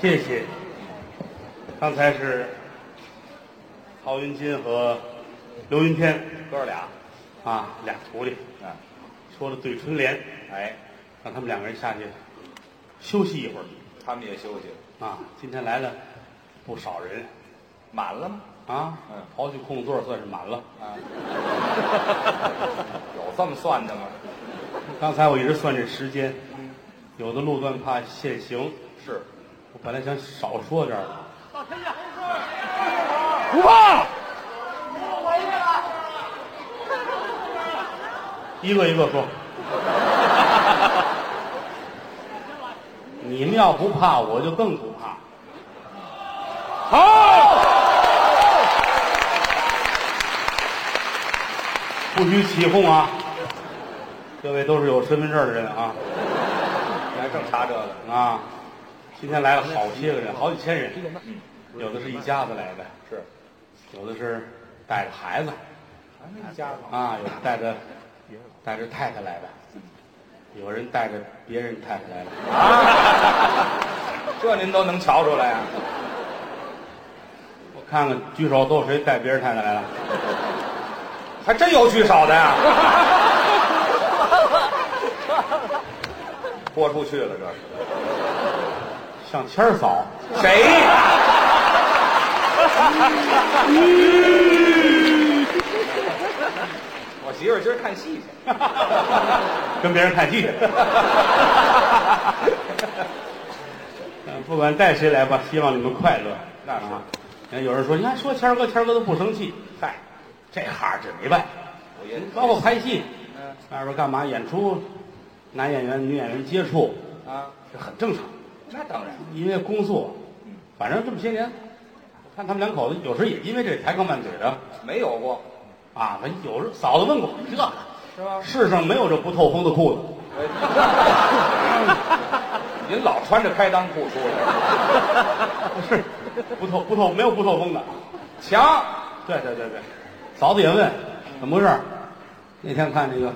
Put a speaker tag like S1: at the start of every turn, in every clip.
S1: 谢谢。刚才是曹云金和刘云天
S2: 哥俩，
S1: 啊，俩徒弟
S2: 啊，
S1: 说了对春联，
S2: 哎，
S1: 让他们两个人下去休息一会儿
S2: 他们也休息了，
S1: 啊。今天来了不少人
S2: 满了吗？
S1: 啊
S2: 嗯，
S1: 刨去空座算是满了。
S2: 啊，有这么算的吗？
S1: 刚才我一直算这时间，有的路段怕限行，
S2: 是，
S1: 我本来想少说点儿，
S2: 不怕。
S1: 一个一个说。你们要不怕，我就更不怕。
S2: 好，
S1: 不许起哄啊！各位都是有身份证的人啊
S2: 你还正查这个？
S1: 啊！今天来了好些个人，好几千人，
S2: 嗯，
S1: 有的是一家子来的，
S2: 是，
S1: 有的是带着孩子
S2: 还没一家呢。
S1: 啊，有的带着带着太太来的，有人带着别人太太来的。
S2: 这您都能瞧出来啊？
S1: 我看看举手，都有谁带别人太太来了？
S2: 还真有聚少的呀、 豁出去了，这是
S1: 像谦儿嫂，
S2: 谁呀、 我媳妇儿今儿看戏去，
S1: 跟别人看戏去。嗯 不管带谁来吧，希望你们快乐。
S2: 那是
S1: 啊，你看有人说，你看说谦儿哥，谦儿哥都不生气。
S2: 嗨，
S1: 这行这没办法，
S2: 我也
S1: 包括拍戏，
S2: 嗯
S1: 外边干嘛演出，男演员、女演员接触，
S2: 啊，
S1: 这很正常，
S2: 那当然，
S1: 因为工作
S2: 嗯，
S1: 反正这么些年，我看他们两口子有时也因为这抬杠拌嘴的
S2: 没有过
S1: 啊，反正有时嫂子问过这个，
S2: 是吧？
S1: 世上没有这不透风的裤子，
S2: 您老穿着开裆裤出来，
S1: 不是不透不透没有不透风的，
S2: 强
S1: 对对对对，嫂子也问怎么回事儿，那天看这个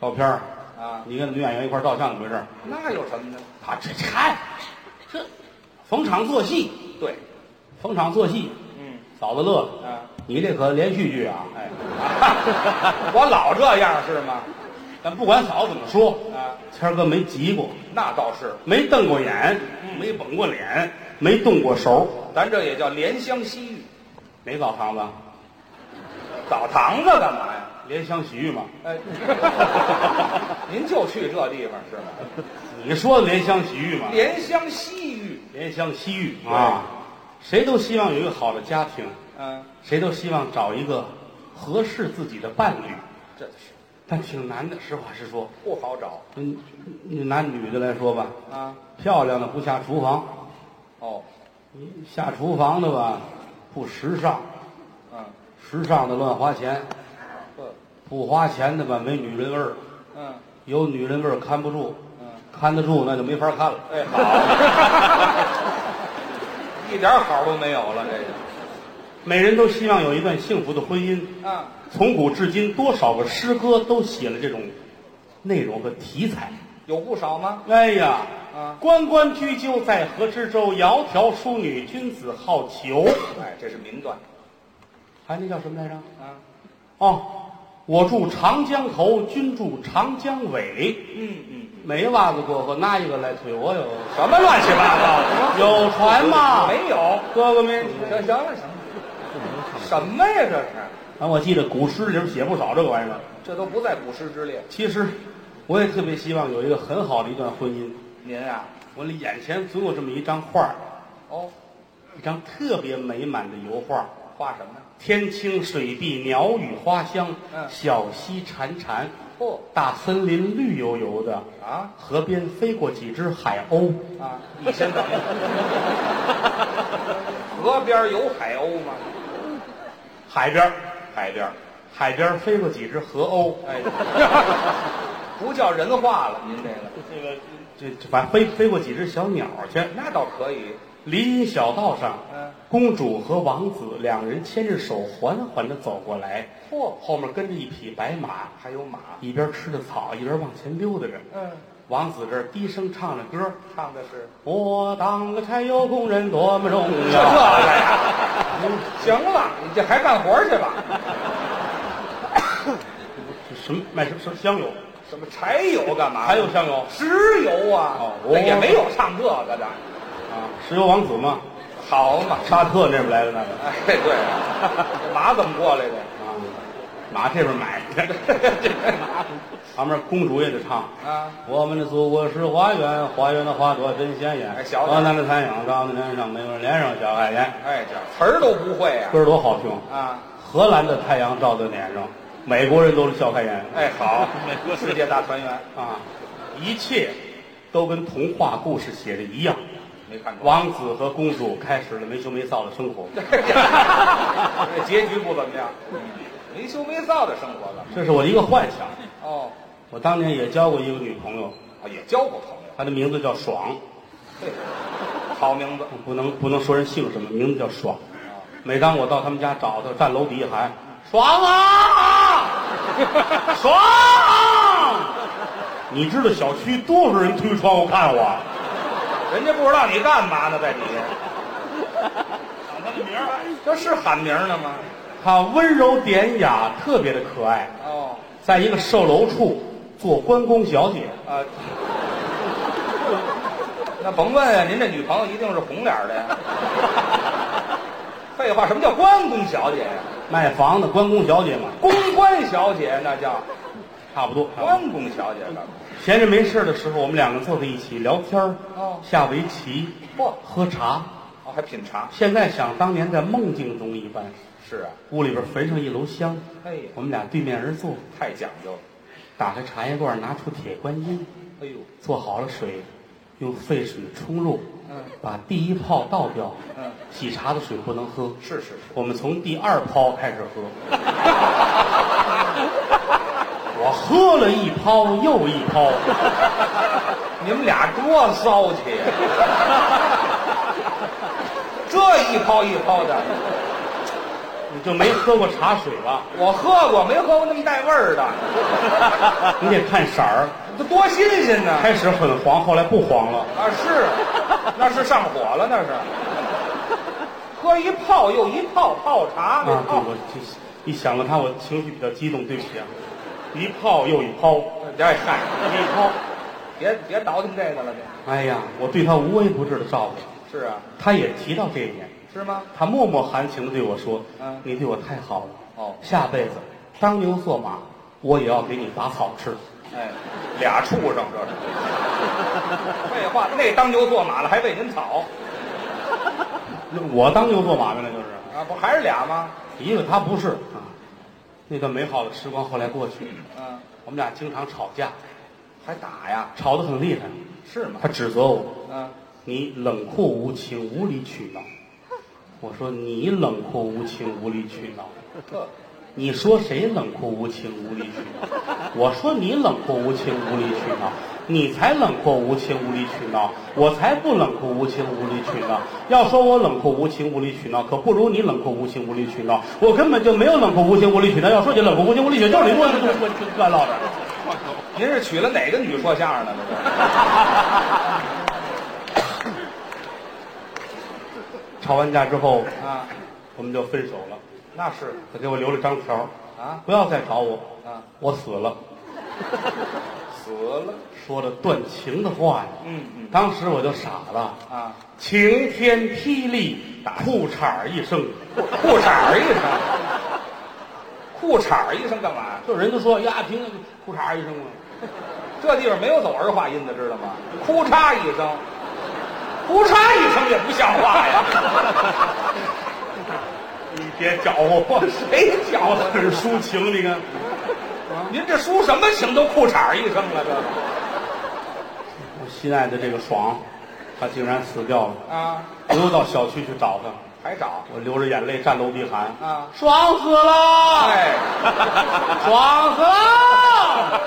S1: 照片儿
S2: 啊
S1: 你跟女演员一块儿照相怎么回事儿？
S2: 那有什么呢？
S1: 他这这嗨，这逢场作戏，
S2: 对，
S1: 逢场作戏，
S2: 嗯
S1: 嫂子乐了。
S2: 啊，
S1: 你这可连续剧啊！
S2: 哎， 我老这样是吗？
S1: 但不管嫂子怎么说，
S2: 啊，
S1: 谦儿哥没急过，
S2: 那倒是，
S1: 没瞪过眼，
S2: 嗯
S1: 没绷过脸，没动过手，
S2: 咱这也叫怜香惜玉，
S1: 哪澡堂子？
S2: 澡堂子干嘛呀？
S1: 怜香惜玉吗？
S2: 哎， 您就去这地方是吗？
S1: 你说的怜香惜玉吗？
S2: 怜香惜玉，
S1: 怜香惜玉啊！谁都希望有一个好的家庭，
S2: 嗯，
S1: 谁都希望找一个合适自己的伴侣，
S2: 这是
S1: 但挺难的。实话实说，
S2: 不好找
S1: 嗯，你拿女的来说吧，
S2: 啊。
S1: 漂亮的不下厨房，
S2: 哦，
S1: 你下厨房的吧，不时尚，
S2: 嗯，
S1: 时尚的乱花钱，
S2: 呵，
S1: 不花钱的吧没女人味儿，
S2: 嗯
S1: 有女人味儿看不住，
S2: 嗯，
S1: 看得住那就没法看了。
S2: 哎，好，一点好都没有了，这个
S1: 每人都希望有一段幸福的婚姻，
S2: 啊，
S1: 从古至今，多少个诗歌都写了这种内容和题材。
S2: 有不少吗？
S1: 哎呀，
S2: 啊
S1: 关关雎鸠，在河之洲。窈窕淑女，君子好逑。
S2: 哎，这是名段
S1: 还那叫什么来着？
S2: 啊。
S1: 哦，我住长江头，君住长江尾。
S2: 嗯嗯，
S1: 没袜子过河，哪一个来推我哟？
S2: 什么乱七八糟的？
S1: 有船吗？
S2: 没有。
S1: 哥哥没。
S2: 行行了行了，什么呀这是？
S1: 啊，我记得古诗里边写不少这个玩意儿。
S2: 这都不在古诗之列。
S1: 其实，我也特别希望有一个很好的一段婚姻。
S2: 您啊，
S1: 我眼前总有这么一张画儿
S2: 哦，
S1: 一张特别美满的油画，
S2: 画什么呢？
S1: 天青水碧，鸟语花香，
S2: 嗯
S1: 小溪潺潺，
S2: 嚯、
S1: 大森林绿油油的，
S2: 啊
S1: 河边飞过几只海鸥，
S2: 啊！你先 等。河边有海鸥吗？
S1: 海边儿
S2: 海边。
S1: 海边儿飞过几只河鸥，
S2: 哎，不叫人话了，您这个
S1: 这个这这反正飞飞过几只小鸟去，
S2: 那倒可以。
S1: 林荫小道上
S2: 嗯，
S1: 公主和王子两人牵着手缓缓地走过来，
S2: 嚯
S1: 后面跟着一匹白马，
S2: 还有马，
S1: 一边吃着草，一边往前溜达着。
S2: 嗯，
S1: 王子这儿低声唱着歌
S2: 唱的是：“
S1: 我当个柴油工人多么重
S2: 这
S1: 要。”嗯
S2: 个 呀，行了，你这还干活去了？
S1: 这什么卖什么什么香油？
S2: 什么柴油干嘛？
S1: 还有香油
S2: 石油啊？
S1: 哦
S2: 那也没有唱这个的，
S1: 啊，石油王子嘛，
S2: 好嘛？
S1: 沙特那边来的那个
S2: 哎，对啊，这 马怎么过来的？
S1: 啊，马这边买的。 旁边公主也得唱。
S2: 啊，
S1: 我们的祖国是花园，花园的花朵真鲜艳。
S2: 哎小点
S1: 河南的太阳照在脸上，没有人脸上小爱莲。
S2: 哎，这词儿都不会啊。
S1: 歌儿多好听！
S2: 啊，
S1: 荷兰的太阳照在脸上，美国人都是笑开颜
S2: 哎，好，美国 世界大团圆，
S1: 啊，一切都跟童话故事写的一样。
S2: 没看过。
S1: 王子和公主开始了没羞没臊的 生活，
S2: 这结局不怎么样，没羞没臊的生活了。
S1: 这是我的一个幻想。
S2: 哦，
S1: 我当年也交过一个女朋友，
S2: 啊也交过朋友，
S1: 她的名字叫爽，
S2: 嘿，好名字。
S1: 不能不能说人姓什么，名字叫爽。
S2: 啊
S1: 每当我到他们家找她，站楼底下喊“爽 啊，爽啊”，你知道小区多少人推窗户看我？
S2: 人家不知道你干嘛呢，在底下，
S1: 喊他的名儿。
S2: 这是喊名呢吗？
S1: 她温柔典雅，特别的可爱，
S2: 哦，
S1: 在一个售楼处做关公小姐，
S2: 啊，那甭问啊，您这女朋友一定是红脸儿的呀。 废话，什么叫关公小姐呀？
S1: 卖房的关公小姐嘛，
S2: 公关小姐那叫
S1: 差不多。
S2: 关公小姐干嘛？
S1: 闲着没事的时候，我们两个坐在一起聊天儿
S2: 哦
S1: 下围棋，
S2: 嚯，
S1: 喝茶。
S2: 哦，还品茶。
S1: 现在想当年在梦境中一般，
S2: 是啊，
S1: 屋里边焚上一篓香，
S2: 哎呀，
S1: 我们俩对面而坐，
S2: 太讲究了。
S1: 打开茶叶罐，拿出铁观音，
S2: 哎呦，
S1: 做好了水，用沸水冲入，
S2: 嗯
S1: 把第一泡倒掉，
S2: 嗯，
S1: 洗茶的水不能喝，
S2: 是是是，
S1: 我们从第二泡开始喝。我喝了一泡又一泡，
S2: 你们俩多骚气 呀！这一泡一泡的，
S1: 你就没喝过茶水吧？
S2: 我喝过，没喝过那么带味儿的，
S1: 你得看色儿，
S2: 这多新鲜呢！
S1: 开始很黄，后来不黄了。
S2: 啊，是，那是上火了，那是。喝一泡又一泡泡茶，
S1: 啊，
S2: 那
S1: 对
S2: 泡，
S1: 我就一想到他，我情绪比较激动，对不起啊。一泡又一泡，
S2: 哎嗨，
S1: 一泡，
S2: 别别倒腾这个了，这
S1: 哎呀，我对他无微不至的照顾。
S2: 是啊，
S1: 他也提到这一点，
S2: 是吗？
S1: 他默默含情的对我说：“
S2: 嗯
S1: 你对我太好了，
S2: 哦
S1: 下辈子当牛做马，我也要给你打草吃。”
S2: 哎，俩畜生这是。废话，那当牛做马了还喂您草
S1: 那我当牛做马呗，那就是
S2: 啊？不还是俩吗？
S1: 一个他不是啊。那段美好的时光后来过去，
S2: 嗯、
S1: 我们俩经常吵架，
S2: 还打呀？
S1: 吵得很厉害。
S2: 是吗
S1: 他？指责我
S2: 嗯、：“
S1: 你冷酷无情，无理取闹。”我说：“你冷酷无情，无理取闹。”
S2: 呵，
S1: 你说谁冷酷无情无理取闹？我说你冷酷无情无理取闹，你才冷酷无情无理取闹，我才不冷酷无情无理取闹。要说我冷酷无情无理取闹，可不如你冷酷无情无理取闹。我根本就没有冷酷无情无理取闹。要说你冷酷无情无理取闹，就是你给我给我给我乱唠的。
S2: 您是娶了哪个女说相声的？这
S1: 吵完架之后，
S2: 是啊，
S1: 我们就分手了。
S2: 那是
S1: 他给我留了张条，
S2: 啊
S1: 不要再找我，
S2: 啊，
S1: 我死了。
S2: 死了。
S1: 说了断情的话呀，
S2: 嗯嗯
S1: 当时我就傻了。
S2: 啊，
S1: 晴天霹雳，打裤衩一声，
S2: 裤裤衩儿一声，裤衩儿一声干嘛呀？
S1: 就人都说呀，听裤衩一声嘛，
S2: 这地方没有走儿化音的，知道吗？哭嚓一声，哭嚓一声也不像话呀！
S1: 你别搅和我，
S2: 谁搅
S1: 我很
S2: 和？
S1: 抒情，你看，
S2: 您这抒什么情都裤衩儿一声了，这个
S1: 我心爱的这个爽，他竟然死掉了，
S2: 啊，
S1: 我又到小区去找他，
S2: 还找？
S1: 我流着眼泪站楼底喊
S2: 啊
S1: 爽死了，
S2: 哎，
S1: 爽死 了，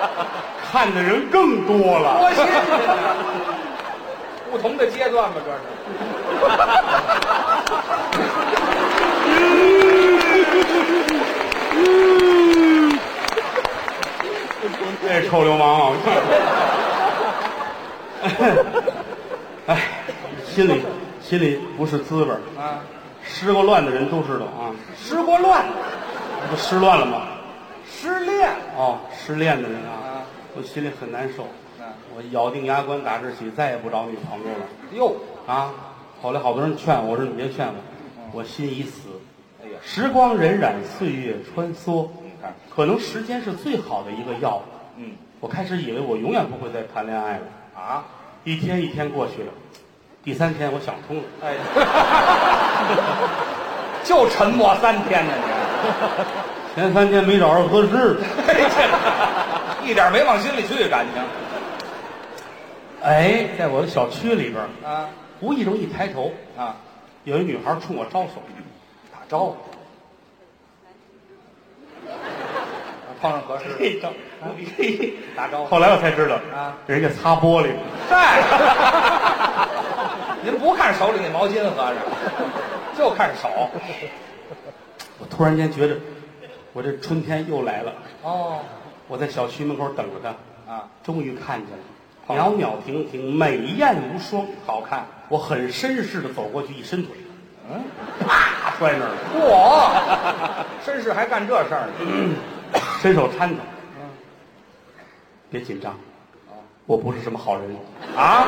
S1: 看的人更多了，
S2: 多新鲜啊！不同的阶段嘛，这是。
S1: 那是臭流氓啊！ 哎，心里心里不是滋味儿
S2: 啊，
S1: 失过乱的人都知道啊，
S2: 失过乱，
S1: 不失乱了吗？
S2: 失恋，
S1: 哦，失恋的人啊
S2: 啊，
S1: 我心里很难受。
S2: 嗯
S1: 我咬定牙关，打这起再也不找女朋友了
S2: 哟，
S1: 啊！后来好多人劝我，我说你别劝我，我心已死。
S2: 哎呀，
S1: 时光荏苒，岁月穿梭，
S2: 你看，
S1: 可能时间是最好的一个药。
S2: 嗯，
S1: 我开始以为我永远不会再谈恋爱了，
S2: 啊，
S1: 一天一天过去了，第三天我想通了，
S2: 哎， 就沉默三天呢，你
S1: 前三天没找着合适的，
S2: 这一点没往心里去，感情
S1: 哎，在我的小区里边儿，
S2: 啊
S1: 无意中一抬头，
S2: 啊，
S1: 有一女孩冲我招手，
S2: 打招呼，啊碰上合适的，啊打招呼
S1: 后来我才知道
S2: 啊，
S1: 人家擦玻璃了。
S2: 嗨， 您不看手里那毛巾合着，就看手，
S1: 我突然间觉得，我这春天又来了。
S2: 哦，
S1: 我在小区门口等着她，
S2: 啊，
S1: 终于看见了，袅袅婷婷，美艳无双，好看。我很绅士的走过去，一伸腿，
S2: 嗯。
S1: 啪摔那儿 了，
S2: 嚯，绅士还干这事儿呢？
S1: 伸手搀她。别紧张，我不是什么好人，
S2: 啊？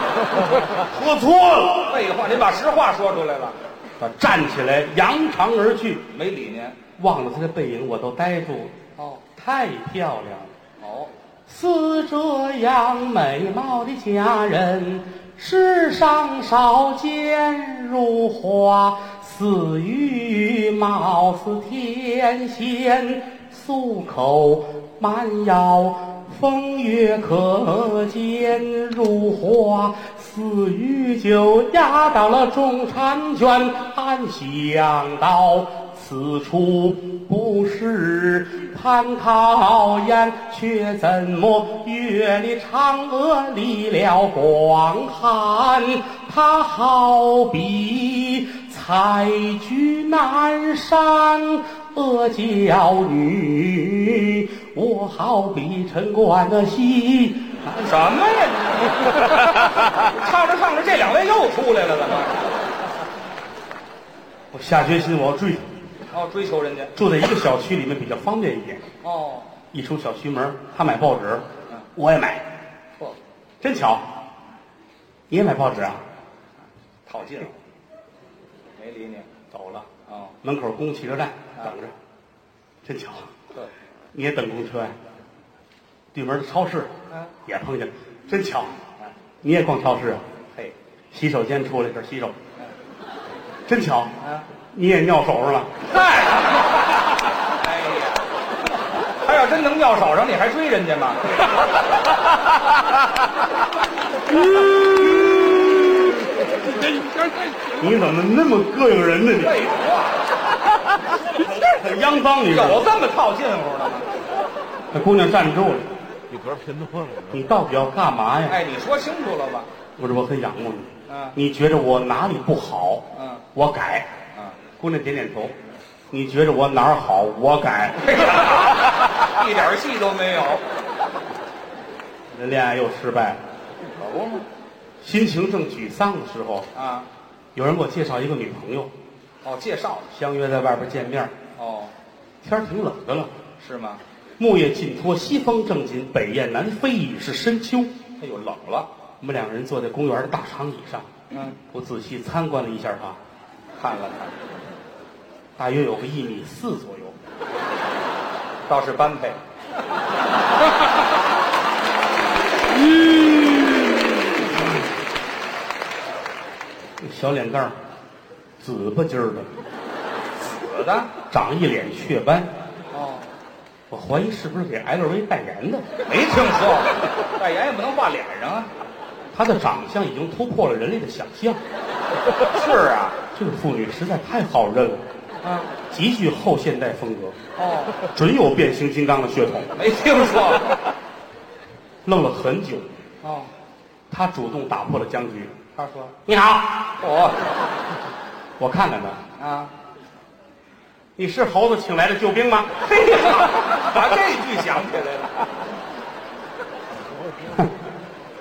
S1: 喝错了。
S2: 废话，您把实话说出来了，
S1: 她站起来，扬长而去，
S2: 没理您。
S1: 望着她的背影，我都呆住了。
S2: 哦，
S1: 太漂亮了。
S2: 哦，
S1: 似这样美貌的佳人，世上少见。如花似玉，貌似天仙，素口蛮腰，风月可间。如花似玉，就压倒了众婵娟。暗想到。此处不是蟠桃宴，却怎么月里嫦娥离了广寒？他好比采菊南山，阿娇女；我好比陈冠希。
S2: 什么呀？ 唱着唱着，这两位又出来了，怎么？
S1: 我下决心，我要追她，
S2: 哦，追求人家。
S1: 住在一个小区里面比较方便一点。
S2: 哦，
S1: 一出小区门，她买报纸
S2: 嗯，
S1: 我也买。
S2: 嚯，
S1: 真巧，你也买报纸啊？
S2: 套近乎，没理你。
S1: 走了，
S2: 哦，
S1: 门口公共汽车站
S2: 啊
S1: 等着。真巧，
S2: 对，
S1: 你也等公车呀？对门的超市
S2: 啊，
S1: 也碰见了，真巧，
S2: 哎，
S1: 你也逛超市啊？
S2: 嘿，
S1: 洗手间出来这儿洗手，真巧，
S2: 啊，
S1: 你也尿手上了。
S2: 嗨，哎呀，他要真能尿手上，你还追人家吗？
S1: 你怎么那么膈应人呢？你
S2: 废话，
S1: 很肮脏，你知道
S2: 有
S1: 吗
S2: 这么套近乎的吗？
S1: 那姑娘站住了，
S3: 你格贫多了，
S1: 你到底要干嘛呀？
S2: 哎，你说清楚了吧？
S1: 我说我很仰慕你，
S2: 嗯
S1: 你觉得我哪里不好？
S2: 嗯
S1: 我改。
S2: 啊，
S1: 姑娘点点头，你觉着我哪儿好，我改。
S2: 一点戏都没有，
S1: 这恋爱又失败了，
S2: 可不吗？
S1: 心情正沮丧的时候，
S2: 啊，
S1: 有人给我介绍一个女朋友，
S2: 哦，介绍
S1: 相约在外边见面。
S2: 哦，
S1: 天儿挺冷的了，
S2: 是吗？
S1: 木叶尽脱，西风正紧，北雁南飞，已是深秋。
S2: 哎呦，冷了，
S1: 我们两个人坐在公园的大长椅上，
S2: 嗯，
S1: 我仔细参观了一下她，
S2: 看了看，
S1: 大约有个一米四左右，
S2: 倒是般配，
S1: 小脸蛋儿，紫吧唧儿的，
S2: 死的，
S1: 长一脸雀斑。
S2: 哦，
S1: 我怀疑是不是给 LV 代言的。
S2: 没听说过，代言也不能画脸上啊，
S1: 她的长相已经突破了人类的想象，
S2: 是啊，
S1: 这个妇女实在太好认了，
S2: 啊，
S1: 极具后现代风格，
S2: 哦，
S1: 准有变形金刚的血统。
S2: 没听说过，
S1: 愣了很久，
S2: 哦，
S1: 她主动打破了僵局。
S2: 他说
S1: 你好，
S2: 我
S1: 我看看他，
S2: 啊，
S1: 你是猴子请来的救兵吗？
S2: 嘿呀，把这句想起来了。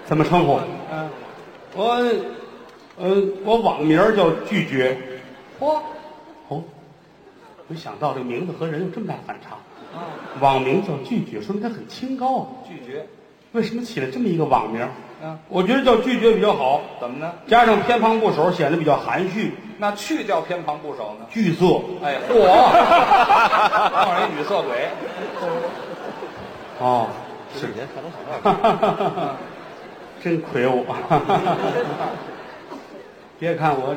S1: 怎么称呼？
S2: 嗯，
S1: 我，呃，我网名叫拒绝。
S2: 嚯，
S1: 哦，没想到这名字和人有这么大反差。
S2: 啊，
S1: 网名叫拒绝，说明他很清高啊。
S2: 拒绝，
S1: 为什么起了这么一个网名？
S2: 啊，
S1: 我觉得叫拒绝比较好，
S2: 怎么呢？
S1: 加上偏旁部首显得比较含蓄，
S2: 那去掉偏旁部首呢？
S1: 拒色。
S2: 哎，嚯，让人女色鬼。哎
S1: 哦，
S3: 是您可能想到
S1: 哈哈哈哈真魁梧。 别看我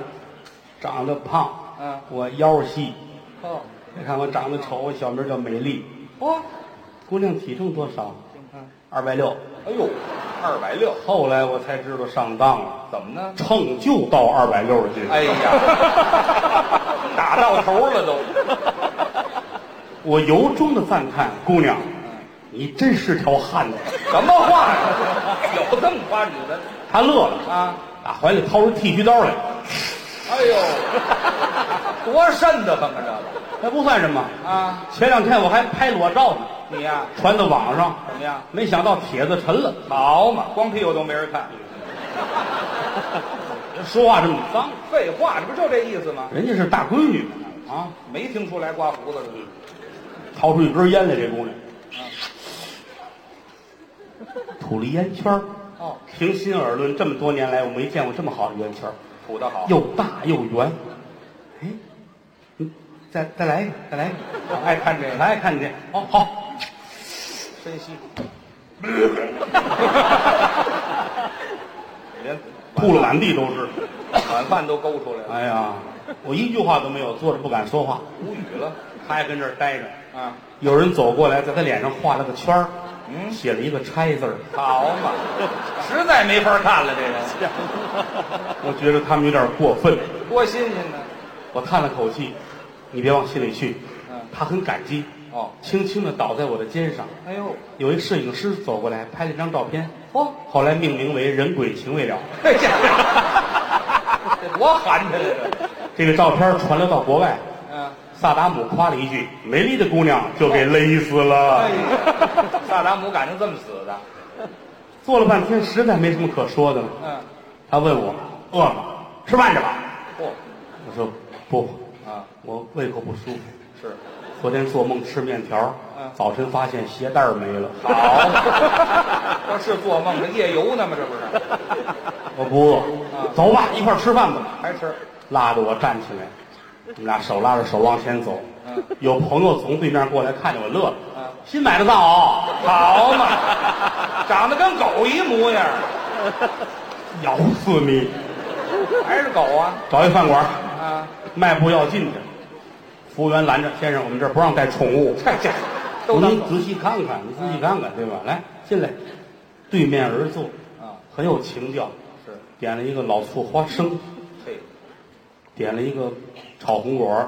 S1: 长得胖，
S2: 嗯
S1: 我腰细。
S2: 哦，
S1: 别看我长得丑，我小名叫美丽。
S2: 嚯，
S1: 姑娘体重多少？
S2: 嗯，
S1: 二百六。
S2: 哎呦，二百六，
S1: 后来我才知道上当了，
S2: 怎么呢？
S1: 秤就到二百六十斤。
S2: 啊哎呀， 打到头了都。
S1: 我由衷的赞叹，姑娘，
S2: 嗯
S1: 你真是条汉子。
S2: 什么话呀？有这么夸女的
S1: 她乐了，
S2: 啊？
S1: 打怀里掏出剃须刀来，
S2: 哎呦，多瘆得慌啊！这
S1: 那不算什么。
S2: 个啊，
S1: 前两天我还拍裸照呢，
S2: 你呀、
S1: 传到网上，
S2: 怎么样？
S1: 没想到帖子沉了。
S2: 好嘛，光屁股都没人看。
S1: 说话这么脏，
S2: 废话，这不就这意思吗？
S1: 人家是大闺女啊，
S2: 没听出来刮胡子的。
S1: 掏出一根烟来，这姑娘吐了一烟圈儿
S2: 哦，
S1: 平心而论，这么多年来我没见过这么好的圆圈儿，
S2: 吐得好。
S1: 又大又圆。哎，嗯，再再来一个，再来一个，我爱看这个，爱看这个。哦，好，
S2: 深吸。连
S1: 吐了满地都是。
S2: 晚饭都勾出来了，
S1: 哎呀，我一句话都没有，坐着不敢说话，
S2: 无语了
S1: 他还跟这儿待着。
S2: 啊！
S1: 有人走过来，在他脸上画了个圈儿，
S2: 嗯
S1: 写了一个“拆”字儿。
S2: 好嘛，实在没法看了，这人
S1: 我觉得他们有点过分。
S2: 多新鲜呢。
S1: 我叹了口气，你别往心里去。
S2: 嗯
S1: 他很感激，
S2: 哦，
S1: 轻轻地倒在我的肩上。
S2: 哎 呦，
S1: 有一摄影师走过来拍了一张照片，
S2: 嚯、
S1: 后来命名为“人鬼情未了
S2: 这这多寒碜了这。”。
S1: 这个照片传流到国外，
S2: 嗯，
S1: 萨达姆夸了一句：“美丽的姑娘就给勒死了。
S2: 哎呀，萨达姆感情这么死的？
S1: 做了半天，实在没什么可说的了。
S2: 嗯，
S1: 他问我：“饿吗？吃饭去吧。
S2: 嚯、”
S1: 我说：“不，
S2: 啊，
S1: 我胃口不舒服。
S2: 是
S1: 昨天做梦吃面条
S2: 嗯，
S1: 早晨发现鞋带儿没了。
S2: 好， 这是做梦，这夜游呢吗？这不是？
S1: 我不
S2: 嗯
S1: 饿，走吧，一块儿吃饭吧。”
S2: 还吃？
S1: 拉着我站起来，我们俩手拉着手往前走。
S2: 嗯
S1: 有朋友从对面过来，看见我乐了。
S2: 嗯
S1: 新买的 藏獒，
S2: 好嘛，长得跟狗一模样，
S1: 咬死你！
S2: 还是狗啊？
S1: 找一饭馆，
S2: 啊，
S1: 迈步要进去，服务员拦着：“先生，我们这儿不让带宠物。
S2: 这这”都
S1: 我说：“
S2: 能
S1: 您仔细看看，您仔细看看，对吧？来，进来，对面而坐，
S2: 啊，
S1: 很有情调。
S2: 是，
S1: 点了一个老醋花生，
S2: 嘿，
S1: 点了一个炒红果儿，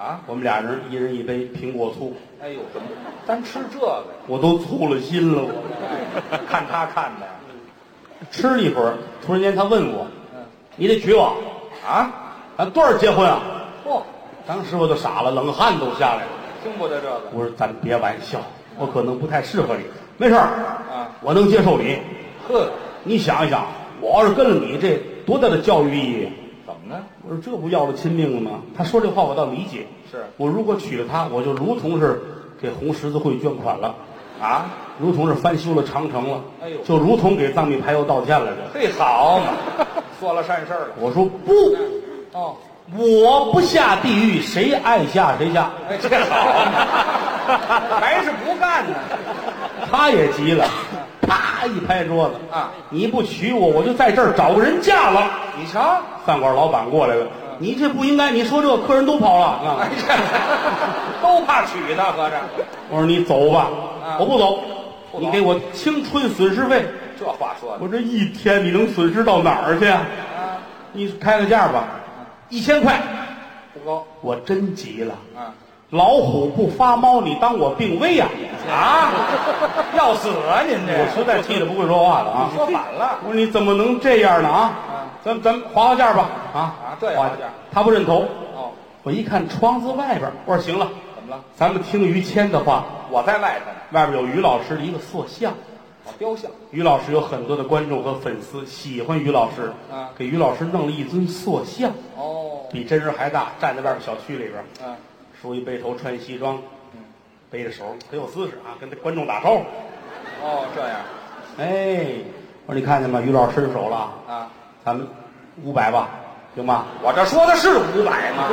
S2: 啊，
S1: 我们俩人一人一杯苹果醋，
S2: 哎呦，怎么单吃这个呀？
S1: 我都醋了心了，我。”
S2: 哎看他看的呀，
S1: 吃了一会儿，突然间他问我
S2: 嗯，：“
S1: 你得娶我，
S2: 啊，
S1: 咱多少结婚啊
S2: 嚯、？”
S1: 当时我就傻了，冷汗都下来了。
S2: 听不得这个
S1: 我说：“咱别玩笑，我可能不太适合你。没事儿，
S2: 啊，
S1: 我能接受你。
S2: 呵，
S1: 你想一想，我要是跟了你，这多大的教育意义？
S2: 怎么呢？
S1: 我说这不要了亲命了吗？”他说这话我倒理解，
S2: 是
S1: 我如果娶了她，我就如同是给红十字会捐款了，
S2: 啊，
S1: 如同是翻修了长城了，
S2: 哎呦
S1: 就如同给藏密排油道歉了。这
S2: 嘿，好 嘛，做了善事儿了。
S1: 我说不。
S2: 哦，
S1: 我不下地狱，谁爱下谁下。
S2: 哎，这好嘛，还是不干呢。
S1: 他也急了，啪一拍桌子
S2: 啊！
S1: 你不娶我，我就在这儿找个人嫁了。
S2: 你瞧，
S1: 饭馆老板过来了，你这不应该，你说这客人都跑了。啊
S2: 嗯哎， 这都怕娶她，合着
S1: 我说你走吧，
S2: 啊
S1: 我不走，
S2: 不走
S1: 你给我青春损失费。
S2: 这话说的
S1: 我这一天你能损失到哪儿去啊？
S2: 啊，
S1: 你开个价吧，一千块。
S2: 不高
S1: 我真急了，
S2: 啊
S1: 老虎不发猫，你当我病危呀、
S2: 啊，要死啊！您这
S1: 我实在气得不会说话了啊！
S2: 说反了
S1: 我说你怎么能这样呢啊
S2: 啊？
S1: 咱咱咱们划划价吧，啊
S2: 啊这也划价，
S1: 他不认同。
S2: 哦，
S1: 我一看窗子外边儿，我说行了，
S2: 怎么了？
S1: 咱们听于谦的话，
S2: 我在外头呢，
S1: 外边有于老师的一个塑像，
S2: 我雕像，
S1: 于老师有很多的观众和粉丝喜欢于老师，
S2: 啊
S1: 给于老师弄了一尊塑像，
S2: 哦，
S1: 比真人还大，站在外边小区里边，
S2: 嗯，
S1: 梳一背头，穿西装，
S2: 嗯
S1: 背着手，很有姿势啊，跟观众打招呼。
S2: 哦，这样
S1: 哎，我说你看见吗？于老师伸手了，
S2: 啊，
S1: 咱们五百吧，行吗？
S2: 我这说的是五百 吗？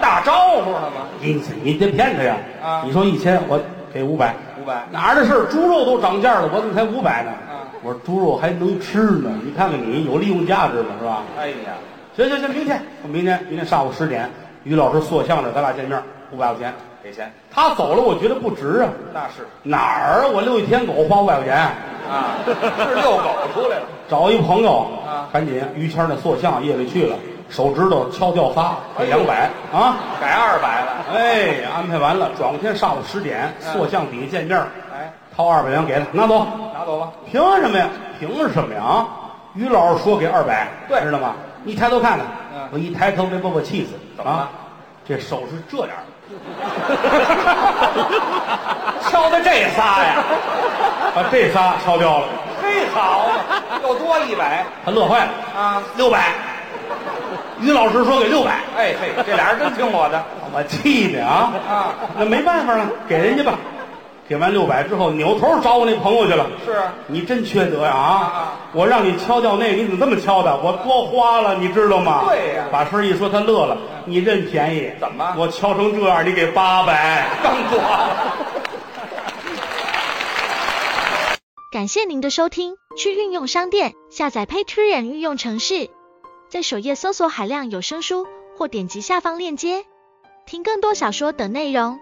S2: 打招呼了吗？
S1: 你你别骗他呀！
S2: 啊
S1: 你说一千，我给五百，
S2: 五百
S1: 哪儿的事儿？猪肉都涨价了，我怎么才五百呢？
S2: 啊
S1: 我说猪肉还能吃呢，你看看你有利用价值吗？是吧？
S2: 哎呀，
S1: 行行行，明天，我明天明天上午十点，于老师塑像这儿，咱俩见面，五百块钱。
S2: 给钱，
S1: 他走了，我觉得不值啊！
S2: 那是
S1: 哪儿啊？我遛一天狗花五百块钱，
S2: 啊，是遛狗出来了，
S1: 找一朋友，
S2: 啊
S1: 赶紧于谦那塑像夜里去了，手指头敲掉仨，给两百啊！
S2: 改二百了，
S1: 哎，安排完了，转过天上午十点，
S2: 嗯
S1: 塑像底下见面，
S2: 哎，
S1: 掏二百元给他，拿走。
S2: 拿走吧，
S1: 凭什么呀？凭什么呀？啊！于老师说给二百，
S2: 对
S1: 知道吗？你抬头看看，
S2: 嗯
S1: 我一抬头没把我气死，
S2: 怎么了
S1: 啊？这手是这样 的，
S2: 敲的这仨呀，
S1: 把这仨敲掉了，
S2: 嘿，好嘛，又多一百
S1: 他乐坏了，
S2: 啊，
S1: 六百。于老师说给六百，
S2: 哎嘿，这俩人真听我的
S1: 我气的啊！
S2: 啊，
S1: 那没办法了，给人家吧。给完六百之后，扭头找我那朋友去了。
S2: 是啊
S1: 你真缺德呀
S2: 啊
S1: 啊！我让你敲掉那个，你怎么这么敲的？我多花了，你知道吗？
S2: 对呀嗯
S1: 把事儿一说，他乐了。你认便宜？
S2: 怎么
S1: 我敲成这样，你给八百。
S2: 更多了。
S3: 感谢您的收听，去运用商店下载 Patreon 运用城市，在首页搜索海量有声书，或点击下方链接听更多小说等内容。